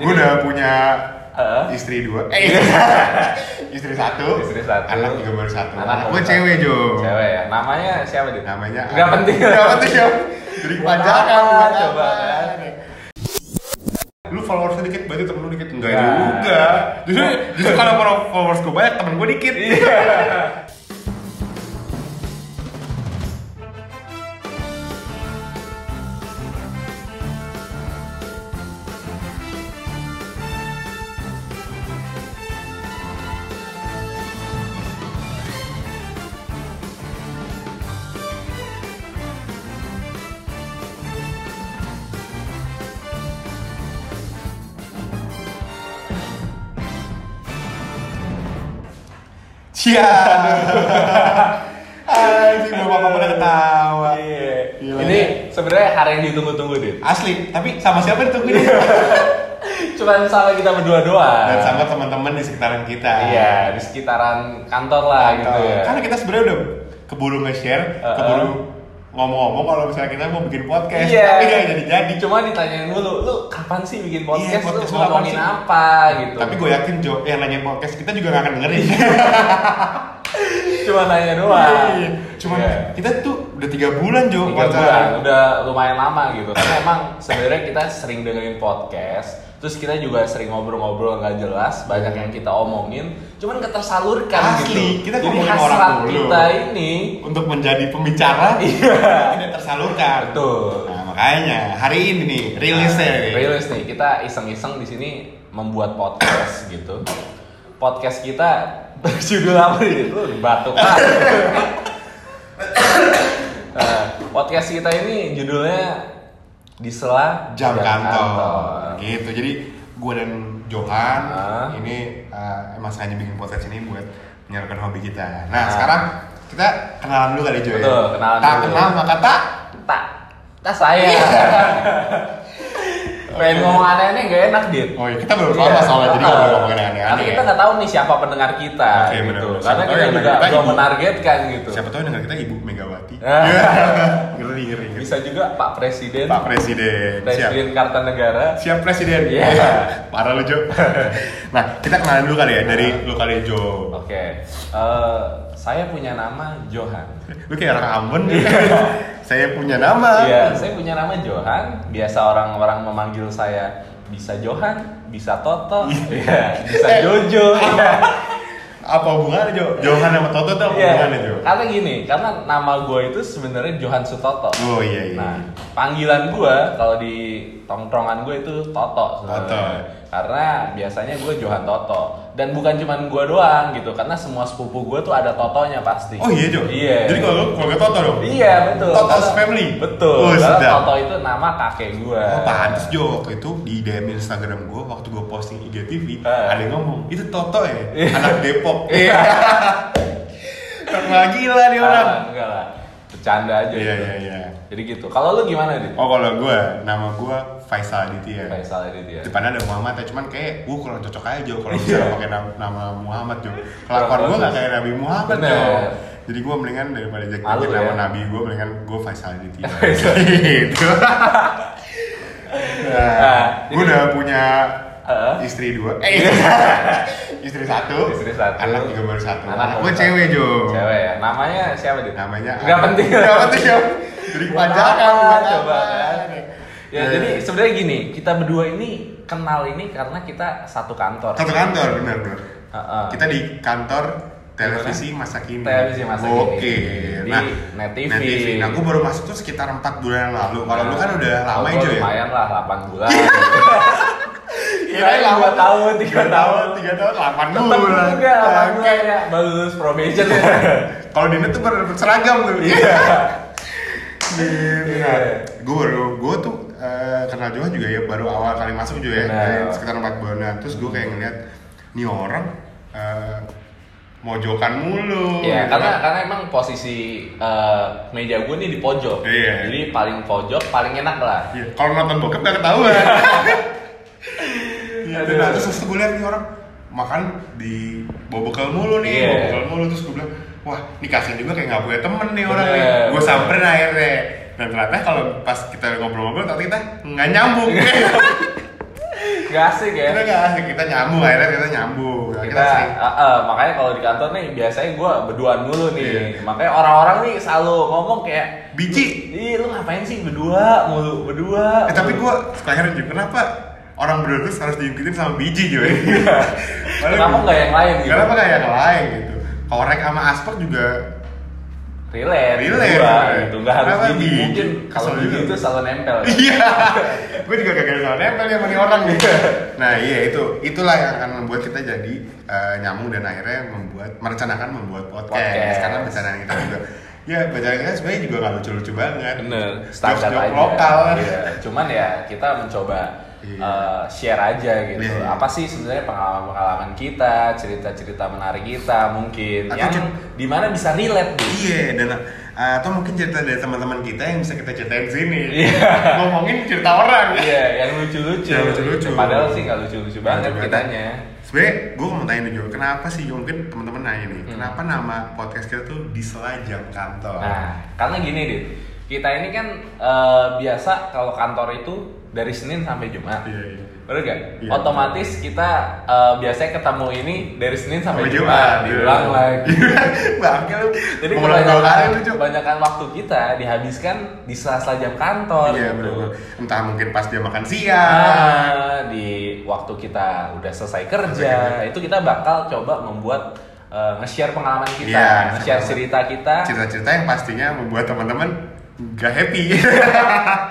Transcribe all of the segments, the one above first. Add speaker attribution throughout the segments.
Speaker 1: Gue udah punya
Speaker 2: Heeh.
Speaker 1: istri dua, eh, istri satu,
Speaker 2: iya. Istri satu.
Speaker 1: anak juga baru satu.
Speaker 2: Anak
Speaker 1: Anak
Speaker 2: baru
Speaker 1: gue
Speaker 2: satu.
Speaker 1: cewek jo.
Speaker 2: Cewek ya. Namanya siapa dia?
Speaker 1: Iya. Namanya.
Speaker 2: Nggak penting.
Speaker 1: Gak penting ya. Jadi
Speaker 2: Buat
Speaker 1: panjang
Speaker 2: apa,
Speaker 1: buat
Speaker 2: coba
Speaker 1: apa?
Speaker 2: kan?
Speaker 1: Lu followersnya dikit, berarti temen lu dikit? Enggak
Speaker 2: Nggak.
Speaker 1: juga. Justru, justru kalau follow- followers gue banyak, temen gue dikit.
Speaker 2: Iya.
Speaker 1: Cia. Anjing bapak bapak ketawa.
Speaker 2: Iya.
Speaker 1: Gila.
Speaker 2: Ini sebenarnya hari yang ditunggu-tunggu, Dit.
Speaker 1: Asli, tapi sama siapa ditungguin?
Speaker 2: Iya. Cuman sama kita berdua doang.
Speaker 1: Dan sama teman-teman di sekitaran kita.
Speaker 2: Iya, di sekitaran kantor lah gitu
Speaker 1: Tahu.
Speaker 2: ya.
Speaker 1: Karena kita sebenarnya udah keburu nge-share,
Speaker 2: Uh-uh.
Speaker 1: keburu ngomong-ngomong kalau misalnya kita mau bikin podcast,
Speaker 2: Iya.
Speaker 1: tapi gak jadi-jadi.
Speaker 2: Cuma ditanyain dulu, lu kapan sih bikin podcast?
Speaker 1: Iya, podcast
Speaker 2: lu
Speaker 1: lu kapan
Speaker 2: ngomongin
Speaker 1: sih?
Speaker 2: apa gitu.
Speaker 1: Tapi gue yakin Jo, yang nanya podcast kita juga gak akan dengerin.
Speaker 2: cuma nanya doang.
Speaker 1: Iya. Cuman
Speaker 2: Iya.
Speaker 1: kita tuh udah tiga bulan Jo.
Speaker 2: Tiga
Speaker 1: pacaran.
Speaker 2: bulan, udah lumayan lama gitu. Tapi emang sebenarnya kita sering dengerin podcast, terus kita juga sering ngobrol-ngobrol nggak jelas, banyak yang kita omongin, cuman ketersalurkan
Speaker 1: Asli,
Speaker 2: gitu.
Speaker 1: kita
Speaker 2: Jadi
Speaker 1: ngomongin orang
Speaker 2: hasrat
Speaker 1: dulu.
Speaker 2: kita ini
Speaker 1: Untuk menjadi pembicara yang tidak tersalurkan.
Speaker 2: Iya. betul. Ah,
Speaker 1: Nah makanya hari ini nih rilisnya nih.
Speaker 2: Rilis nih, kita iseng-iseng di sini membuat podcast gitu. Podcast kita berjudul apa nih? Lu batuk Eh, podcast kita ini judulnya di sela
Speaker 1: jam kantor. gitu jadi gue dan Johan
Speaker 2: Ah.
Speaker 1: ini eh, emang sengaja bikin podcast ini buat menyalurkan hobi kita nah
Speaker 2: Ah.
Speaker 1: sekarang kita kenalan dulu kali Jo ya
Speaker 2: Betul, kenalan
Speaker 1: tak
Speaker 2: dulu.
Speaker 1: kenal maka tak
Speaker 2: Tak, tak saya.
Speaker 1: Iya.
Speaker 2: Pengen ngomong aneh-aneh gak enak, Dit.
Speaker 1: oh iya kita belum lama soalnya jadi nggak boleh ngomongin ya. aneh
Speaker 2: Karena
Speaker 1: aneh
Speaker 2: kita nggak tahu nih siapa pendengar kita
Speaker 1: Oke, benar.
Speaker 2: gitu.
Speaker 1: Siapa
Speaker 2: Karena
Speaker 1: tahu
Speaker 2: kita
Speaker 1: yang
Speaker 2: juga
Speaker 1: dengar kita
Speaker 2: belum
Speaker 1: ibu.
Speaker 2: menargetkan gitu.
Speaker 1: siapa tahu yang dengar kita Ibu Megawati
Speaker 2: Ah.
Speaker 1: ngeri ngeri ngeri.
Speaker 2: Bisa juga Pak Presiden,
Speaker 1: Pak Presiden siap
Speaker 2: Presiden Kartanegara.
Speaker 1: siap Presiden
Speaker 2: Iya.
Speaker 1: parah lu Jo nah kita kenalan dulu kali ya dari
Speaker 2: Iya.
Speaker 1: lu kali Jo
Speaker 2: Oke, eh, saya punya nama Johan.
Speaker 1: lu kayak orang Ambon gitu. saya punya nama
Speaker 2: Iya, saya punya nama Johan. Biasa orang-orang memanggil saya bisa Johan, bisa Toto, iya, bisa
Speaker 1: Eh.
Speaker 2: Jojo.
Speaker 1: apa hubungannya Jo? Johan sama Toto tuh apa
Speaker 2: Iya.
Speaker 1: hubungannya Jo?
Speaker 2: Karena gini, karena nama gue itu sebenarnya Johan Sutoto.
Speaker 1: Oh iya iya.
Speaker 2: Nah, panggilan gue kalau di tongkrongan gue itu Toto. sebenarnya.
Speaker 1: Toto.
Speaker 2: Karena biasanya gue Johan Toto. Dan bukan cuman gue doang gitu, karena semua sepupu gue tuh ada Totonya pasti.
Speaker 1: oh iya Jo.
Speaker 2: Iya.
Speaker 1: Jadi kalau lu keluarga Toto dong.
Speaker 2: Iya betul.
Speaker 1: Toto's
Speaker 2: Karena-
Speaker 1: family.
Speaker 2: Betul.
Speaker 1: Oh,
Speaker 2: Karena
Speaker 1: sedap.
Speaker 2: Toto itu nama kakek gua. Iya,
Speaker 1: Oh, pantes Jo waktu itu di DM Instagram gue waktu gue posting IGTV
Speaker 2: Eh.
Speaker 1: ada yang ngomong itu Toto ya
Speaker 2: Iya.
Speaker 1: anak Depok.
Speaker 2: Iya.
Speaker 1: Orang gila dia Iya, orang.
Speaker 2: Ah, enggak lah. Bercanda aja.
Speaker 1: Iya
Speaker 2: gitu.
Speaker 1: iya iya.
Speaker 2: Jadi gitu. Kalau lu gimana dit?
Speaker 1: Oh iya. kalau gue nama gue Faisal Aditya.
Speaker 2: Faisal ini dia.
Speaker 1: Depannya ada Muhammad ya, cuman kayak gue kurang cocok aja Jo kalau
Speaker 2: Iya.
Speaker 1: misalnya pakai nama, nama Muhammad Jo.
Speaker 2: Kurang
Speaker 1: Kelakuan gue
Speaker 2: bagus.
Speaker 1: nggak kayak Nabi Muhammad Jo.
Speaker 2: Bener.
Speaker 1: Jadi gue mendingan daripada Jack
Speaker 2: Malu
Speaker 1: Jack nama
Speaker 2: ya.
Speaker 1: Nabi gue mendingan gue Faisal Aditya.
Speaker 2: Faisal.
Speaker 1: gitu.
Speaker 2: Nah,
Speaker 1: nah, gue
Speaker 2: jadi-
Speaker 1: udah punya
Speaker 2: Heeh.
Speaker 1: istri dua, eh, istri
Speaker 2: Iya.
Speaker 1: satu,
Speaker 2: Istri satu.
Speaker 1: anak juga baru satu.
Speaker 2: Anak
Speaker 1: Anak,
Speaker 2: baru
Speaker 1: gue
Speaker 2: satu.
Speaker 1: cewek Jo.
Speaker 2: Cewek ya. Namanya siapa dit?
Speaker 1: Namanya.
Speaker 2: Nggak penting.
Speaker 1: Gak penting Jo. Jadi
Speaker 2: Buat
Speaker 1: panjang
Speaker 2: apa, coba kan? Ya,
Speaker 1: Nah.
Speaker 2: jadi sebenarnya gini, kita berdua ini kenal ini karena kita satu kantor.
Speaker 1: Satu kantor bener bener.
Speaker 2: Heeh.
Speaker 1: kita di kantor televisi masa kini
Speaker 2: Televisi masa kini.
Speaker 1: oke
Speaker 2: Di
Speaker 1: nah
Speaker 2: Net TV.
Speaker 1: Net TV. nah gue baru masuk tuh sekitar 4 bulan yang lalu kalau lu kan udah lama
Speaker 2: Kalau
Speaker 1: aja
Speaker 2: gua
Speaker 1: ya
Speaker 2: Oh, Lumayan lah, 8 bulan.
Speaker 1: Iya,
Speaker 2: Kirain
Speaker 1: lama.
Speaker 2: 2 tahun, 3 tahun.
Speaker 1: 3 tahun 8
Speaker 2: Tetep
Speaker 1: bulan Iya.
Speaker 2: juga 8
Speaker 1: Oke.
Speaker 2: bulan ya. Baru lulus probation ya.
Speaker 1: kalau di net tuh baru dapet seragam tuh
Speaker 2: Iya. Iya.
Speaker 1: gue baru gue tuh eh, kenal Johan juga ya baru awal kali masuk juga ya
Speaker 2: Benar.
Speaker 1: dari sekitar 4 bulanan terus gue kayak ngeliat nih orang eh, mojokan mulu
Speaker 2: Iya,
Speaker 1: gitu
Speaker 2: karena
Speaker 1: kan.
Speaker 2: karena emang posisi eh, meja gue nih di pojok.
Speaker 1: Iya.
Speaker 2: Jadi paling pojok paling enak lah.
Speaker 1: Iya, kalau nonton bokep gak ketahuan. Gitu.
Speaker 2: Aduh.
Speaker 1: Nah, terus waktu gue liat nih orang makan di bawa bekal mulu nih,
Speaker 2: Iya.
Speaker 1: bawa bekal mulu terus gue bilang, wah ini kasian juga kayak gak punya temen nih orang
Speaker 2: Bener.
Speaker 1: nih. Gue samperin akhirnya.
Speaker 2: Iya.
Speaker 1: Dan ternyata kalau pas kita ngobrol-ngobrol, ternyata kita nggak nyambung.
Speaker 2: Gak asik ya.
Speaker 1: kita nggak asik kita nyambung akhirnya kita nyambung Nah,
Speaker 2: kita
Speaker 1: sering-
Speaker 2: eh, eh, makanya kalau di kantor nih biasanya gue berduaan mulu nih
Speaker 1: Iya.
Speaker 2: makanya orang-orang nih selalu ngomong kayak
Speaker 1: Bici.
Speaker 2: ih lu ngapain sih berdua mulu berdua
Speaker 1: eh, tapi
Speaker 2: mulu."
Speaker 1: gue suka heran juga kenapa orang berdua terus harus diikutin sama biji gitu
Speaker 2: Iya. Kenapa nggak yang lain gitu?
Speaker 1: kenapa nggak yang lain gitu korek sama asper juga
Speaker 2: relate,
Speaker 1: Relate.
Speaker 2: berdua gitu nggak harus
Speaker 1: Kenapa
Speaker 2: gini
Speaker 1: Bici?
Speaker 2: mungkin kalau
Speaker 1: Kesel
Speaker 2: gini
Speaker 1: juga.
Speaker 2: itu selalu nempel ya.
Speaker 1: iya gue juga gagal sama nempel ya sama nih orang gitu nah iya itu itulah yang akan membuat kita jadi eh, nyambung dan akhirnya membuat merencanakan membuat podcast,
Speaker 2: Podcast.
Speaker 1: karena perencanaan kita juga ya perencanaan kita sebenarnya juga gak lucu-lucu banget
Speaker 2: bener
Speaker 1: standar
Speaker 2: standar aja
Speaker 1: lokal
Speaker 2: Iya. cuman ya kita mencoba
Speaker 1: Iya.
Speaker 2: eh, share aja gitu
Speaker 1: Iya.
Speaker 2: apa sih sebenarnya pengalaman-pengalaman kita cerita-cerita menarik kita mungkin
Speaker 1: Atau
Speaker 2: yang
Speaker 1: cem-
Speaker 2: dimana bisa relate gitu.
Speaker 1: iya dan eh, atau mungkin cerita dari teman-teman kita yang bisa kita ceritain di sini
Speaker 2: Iya.
Speaker 1: ngomongin cerita orang
Speaker 2: Iya, yang lucu-lucu.
Speaker 1: Yang lucu-lucu.
Speaker 2: Padahal sih nggak lucu-lucu banget
Speaker 1: Lucu banget.
Speaker 2: kitanya.
Speaker 1: sebenarnya gue mau tanya nih Jo, kenapa sih Jo, mungkin teman-teman nanya nih
Speaker 2: Hmm.
Speaker 1: kenapa nama podcast kita tuh di selajang kantor
Speaker 2: Nah, karena gini, Dit. Kita ini kan eh, biasa kalau kantor itu dari Senin sampai Jumat.
Speaker 1: Iya, iya.
Speaker 2: Bener gak?
Speaker 1: Iya,
Speaker 2: Otomatis kita eh, biasanya ketemu ini dari Senin sampai,
Speaker 1: Sampai
Speaker 2: Jumat,
Speaker 1: Jumat,
Speaker 2: diulang
Speaker 1: iya.
Speaker 2: lagi.
Speaker 1: Bangke lu.
Speaker 2: Jadi
Speaker 1: Mau ulang dua kali
Speaker 2: kebanyakan,
Speaker 1: lu, Cuk.
Speaker 2: kebanyakan waktu kita dihabiskan di sela-sela jam kantor.
Speaker 1: Iya,
Speaker 2: gitu.
Speaker 1: bener-bener. Entah mungkin pas dia makan siang.
Speaker 2: Ah, di waktu kita udah selesai kerja
Speaker 1: Selesai
Speaker 2: itu kita bakal coba membuat eh, nge-share pengalaman kita,
Speaker 1: Iya,
Speaker 2: nge-share
Speaker 1: sama.
Speaker 2: cerita kita
Speaker 1: Cerita-cerita yang pastinya membuat teman-teman gak happy.
Speaker 2: Iya.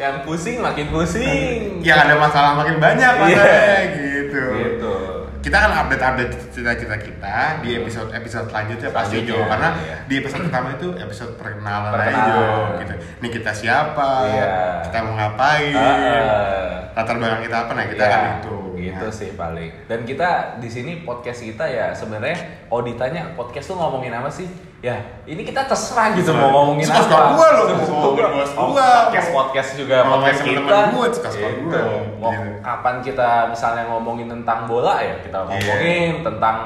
Speaker 2: yang pusing makin pusing.
Speaker 1: yang ada masalah makin banyak
Speaker 2: Iya.
Speaker 1: masalahnya gitu.
Speaker 2: Gitu.
Speaker 1: Kita akan update-update cerita-cerita kita di episode-episode selanjutnya pasti Jo
Speaker 2: Selanjutnya,
Speaker 1: karena
Speaker 2: iya.
Speaker 1: di episode pertama itu episode perkenalan,
Speaker 2: Perkenalan.
Speaker 1: aja Jo gitu. Ini kita siapa?
Speaker 2: Iya.
Speaker 1: Kita mau ngapain?
Speaker 2: Ah, Heeh.
Speaker 1: Latar belakang kita apa nah kita
Speaker 2: Ya,
Speaker 1: akan itu.
Speaker 2: Gitu
Speaker 1: Ya.
Speaker 2: sih paling. Dan kita di sini podcast kita ya sebenarnya oh ditanya podcast tuh ngomongin apa sih? Ya, ini kita terserah gitu
Speaker 1: Terserah.
Speaker 2: mau ngomongin apa.
Speaker 1: Suka suka gua loh,
Speaker 2: Suka suka
Speaker 1: mau
Speaker 2: gua.
Speaker 1: ngomongin
Speaker 2: Mau
Speaker 1: gua.
Speaker 2: Podcast podcast juga
Speaker 1: Mau
Speaker 2: podcast
Speaker 1: ngomongin
Speaker 2: kita.
Speaker 1: temen gua, suka suka
Speaker 2: Gitu.
Speaker 1: gua.
Speaker 2: Mau
Speaker 1: Gitu. Iya.
Speaker 2: kapan kita misalnya ngomongin tentang bola ya kita ngomongin tentang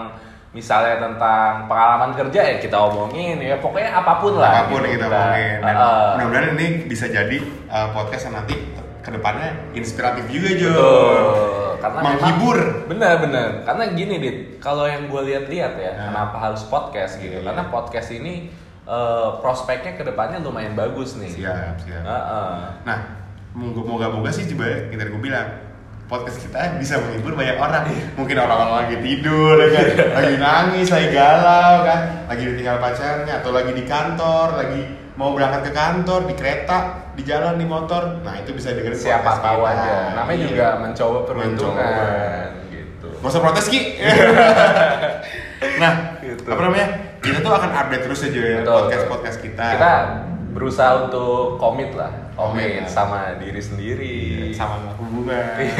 Speaker 2: misalnya tentang pengalaman kerja ya kita omongin ya pokoknya apapun lah
Speaker 1: apapun
Speaker 2: gitu
Speaker 1: yang kita omongin dan
Speaker 2: Heeh.
Speaker 1: mudah-mudahan ini bisa jadi uh, podcast yang nanti kedepannya inspiratif juga Jo
Speaker 2: Betul. Karena
Speaker 1: Menghibur.
Speaker 2: memang- Benar-benar. Karena gini, Dit. Kalau yang gue lihat-lihat ya,
Speaker 1: Nah.
Speaker 2: kenapa harus podcast gitu?
Speaker 1: Iya.
Speaker 2: Karena podcast ini eh, prospeknya kedepannya lumayan bagus nih.
Speaker 1: siap siap
Speaker 2: Heeh.
Speaker 1: nah moga- moga-moga sih coba yang tadi gue bilang podcast kita bisa menghibur banyak orang
Speaker 2: Iya.
Speaker 1: mungkin orang-orang lagi tidur ya kan? lagi nangis lagi galau kan lagi ditinggal pacarnya atau lagi di kantor lagi mau berangkat ke kantor di kereta di jalan di motor nah itu bisa dengerin
Speaker 2: Siapa
Speaker 1: podcast
Speaker 2: tahu
Speaker 1: kita.
Speaker 2: aja. Namanya
Speaker 1: Iya.
Speaker 2: juga mencoba peruntungan
Speaker 1: Mencoba.
Speaker 2: gitu.
Speaker 1: Gak usah protes Ki Nah,
Speaker 2: Gitu.
Speaker 1: apa namanya? Kita tuh akan update terus aja ya
Speaker 2: Betul.
Speaker 1: podcast-podcast kita.
Speaker 2: Kita berusaha untuk komit lah, komit
Speaker 1: Komit, ya.
Speaker 2: sama diri sendiri.
Speaker 1: sama hubungan.
Speaker 2: Iya.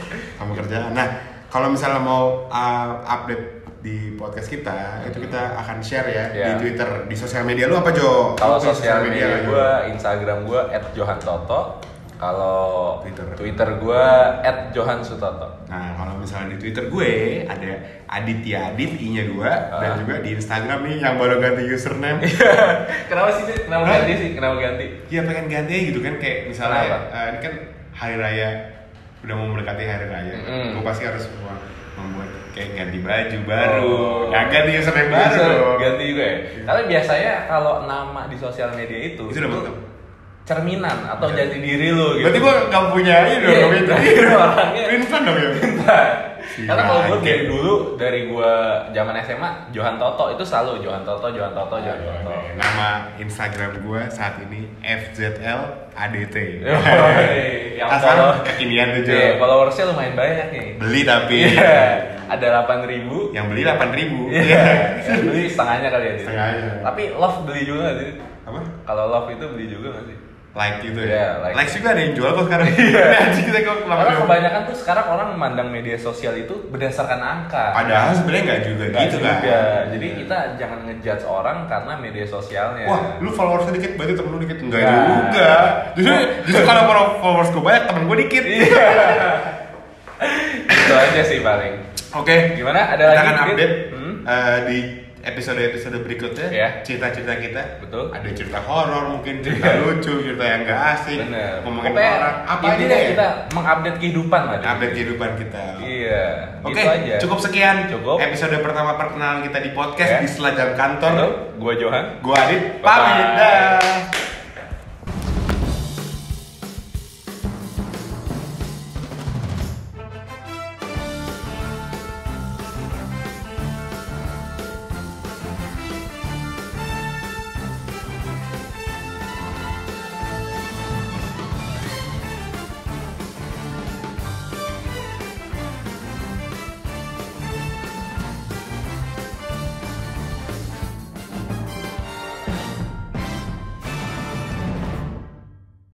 Speaker 1: sama kerjaan. Nah, kalau misalnya mau uh, update di podcast kita, itu kita akan share ya
Speaker 2: Iya.
Speaker 1: di Twitter, di sosial media lu apa Jo?
Speaker 2: Kalau
Speaker 1: Apa di
Speaker 2: sosial media
Speaker 1: lu, Jo?
Speaker 2: gue, Instagram gue @johantoto. Kalau
Speaker 1: Twitter.
Speaker 2: Twitter gue @johansutoto.
Speaker 1: Nah, kalau misalnya di Twitter gue ada Aditya Adit I-nya 2 dan
Speaker 2: Ah.
Speaker 1: juga di Instagram nih yang baru ganti username.
Speaker 2: Kenapa sih? Dit? Kenapa
Speaker 1: Hah?
Speaker 2: ganti sih? Kenapa ganti?
Speaker 1: Iya pengen ganti aja gitu kan kayak
Speaker 2: Kenapa?
Speaker 1: misalnya eh, ini kan hari raya udah mau mendekati hari raya,
Speaker 2: Mm-mm.
Speaker 1: gue pasti harus membuat, membuat kayak ganti baju baru,
Speaker 2: Oh.
Speaker 1: ya ganti username baru.
Speaker 2: Bisa
Speaker 1: dong. Iya.
Speaker 2: Ganti juga ya. Karena biasanya kalau nama di sosial media itu
Speaker 1: Itu
Speaker 2: itu
Speaker 1: udah mentok.
Speaker 2: cerminan atau
Speaker 1: Iya.
Speaker 2: jati diri lu Oh, gitu.
Speaker 1: Berarti gue gak punya ini dong,
Speaker 2: Iya,
Speaker 1: gak punya
Speaker 2: berarti
Speaker 1: diri.
Speaker 2: orangnya. Iya,
Speaker 1: Printan dong ya. Si
Speaker 2: Karena kalau gue
Speaker 1: bangke.
Speaker 2: dari dulu dari gue zaman SMA Johan Toto itu selalu Johan Toto, Johan Toto,
Speaker 1: Iya,
Speaker 2: Johan Toto.
Speaker 1: Nama Instagram gue saat ini FZL ADT.
Speaker 2: Yoi, yang follow-
Speaker 1: kekinian tuh Jo.
Speaker 2: Iya, followersnya lumayan banyak nih.
Speaker 1: Beli tapi
Speaker 2: Iya, ada 8000 ribu.
Speaker 1: yang beli 8.000 ribu.
Speaker 2: Iya, beli setengahnya kali ya. Dit?
Speaker 1: Setengahnya.
Speaker 2: Tapi love beli juga nggak sih?
Speaker 1: Apa?
Speaker 2: Kalau love itu beli juga nggak sih?
Speaker 1: like gitu
Speaker 2: Iya,
Speaker 1: ya.
Speaker 2: like.
Speaker 1: Like juga ada yang jual kok sekarang. Iya. kita kok kenapa
Speaker 2: Karena
Speaker 1: dia-
Speaker 2: kebanyakan tuh sekarang orang memandang media sosial itu berdasarkan angka.
Speaker 1: Padahal sebenarnya nggak juga
Speaker 2: Nggak
Speaker 1: gitu
Speaker 2: juga.
Speaker 1: kan.
Speaker 2: Jadi kita jangan ngejudge orang karena media sosialnya.
Speaker 1: Wah, lu followersnya dikit berarti temen lu dikit enggak
Speaker 2: Nggak.
Speaker 1: juga. Justru justru kalau follow- followers gue banyak, temen gue dikit.
Speaker 2: Iya. itu aja sih paling.
Speaker 1: Oke,
Speaker 2: Gimana? Ada
Speaker 1: kita
Speaker 2: lagi?
Speaker 1: akan
Speaker 2: Dit?
Speaker 1: update
Speaker 2: Iya, Hmm?
Speaker 1: eh, di episode-episode berikutnya
Speaker 2: Iya.
Speaker 1: cerita-cerita kita
Speaker 2: Betul. Iya.
Speaker 1: ada cerita horor mungkin cerita lucu cerita yang gak asik
Speaker 2: Bener.
Speaker 1: ngomongin
Speaker 2: Pokoknya
Speaker 1: orang apa aja
Speaker 2: intinya
Speaker 1: deh
Speaker 2: kita mengupdate kehidupan lah. Dit.
Speaker 1: update kehidupan kita
Speaker 2: Iya.
Speaker 1: Oke,
Speaker 2: gitu aja.
Speaker 1: cukup sekian
Speaker 2: Cukup.
Speaker 1: episode pertama perkenalan kita di podcast
Speaker 2: Ya.
Speaker 1: di Selajang Kantor.
Speaker 2: Halo, gua Johan.
Speaker 1: Gua Adit,
Speaker 2: Bye-bye.
Speaker 1: pamit dah.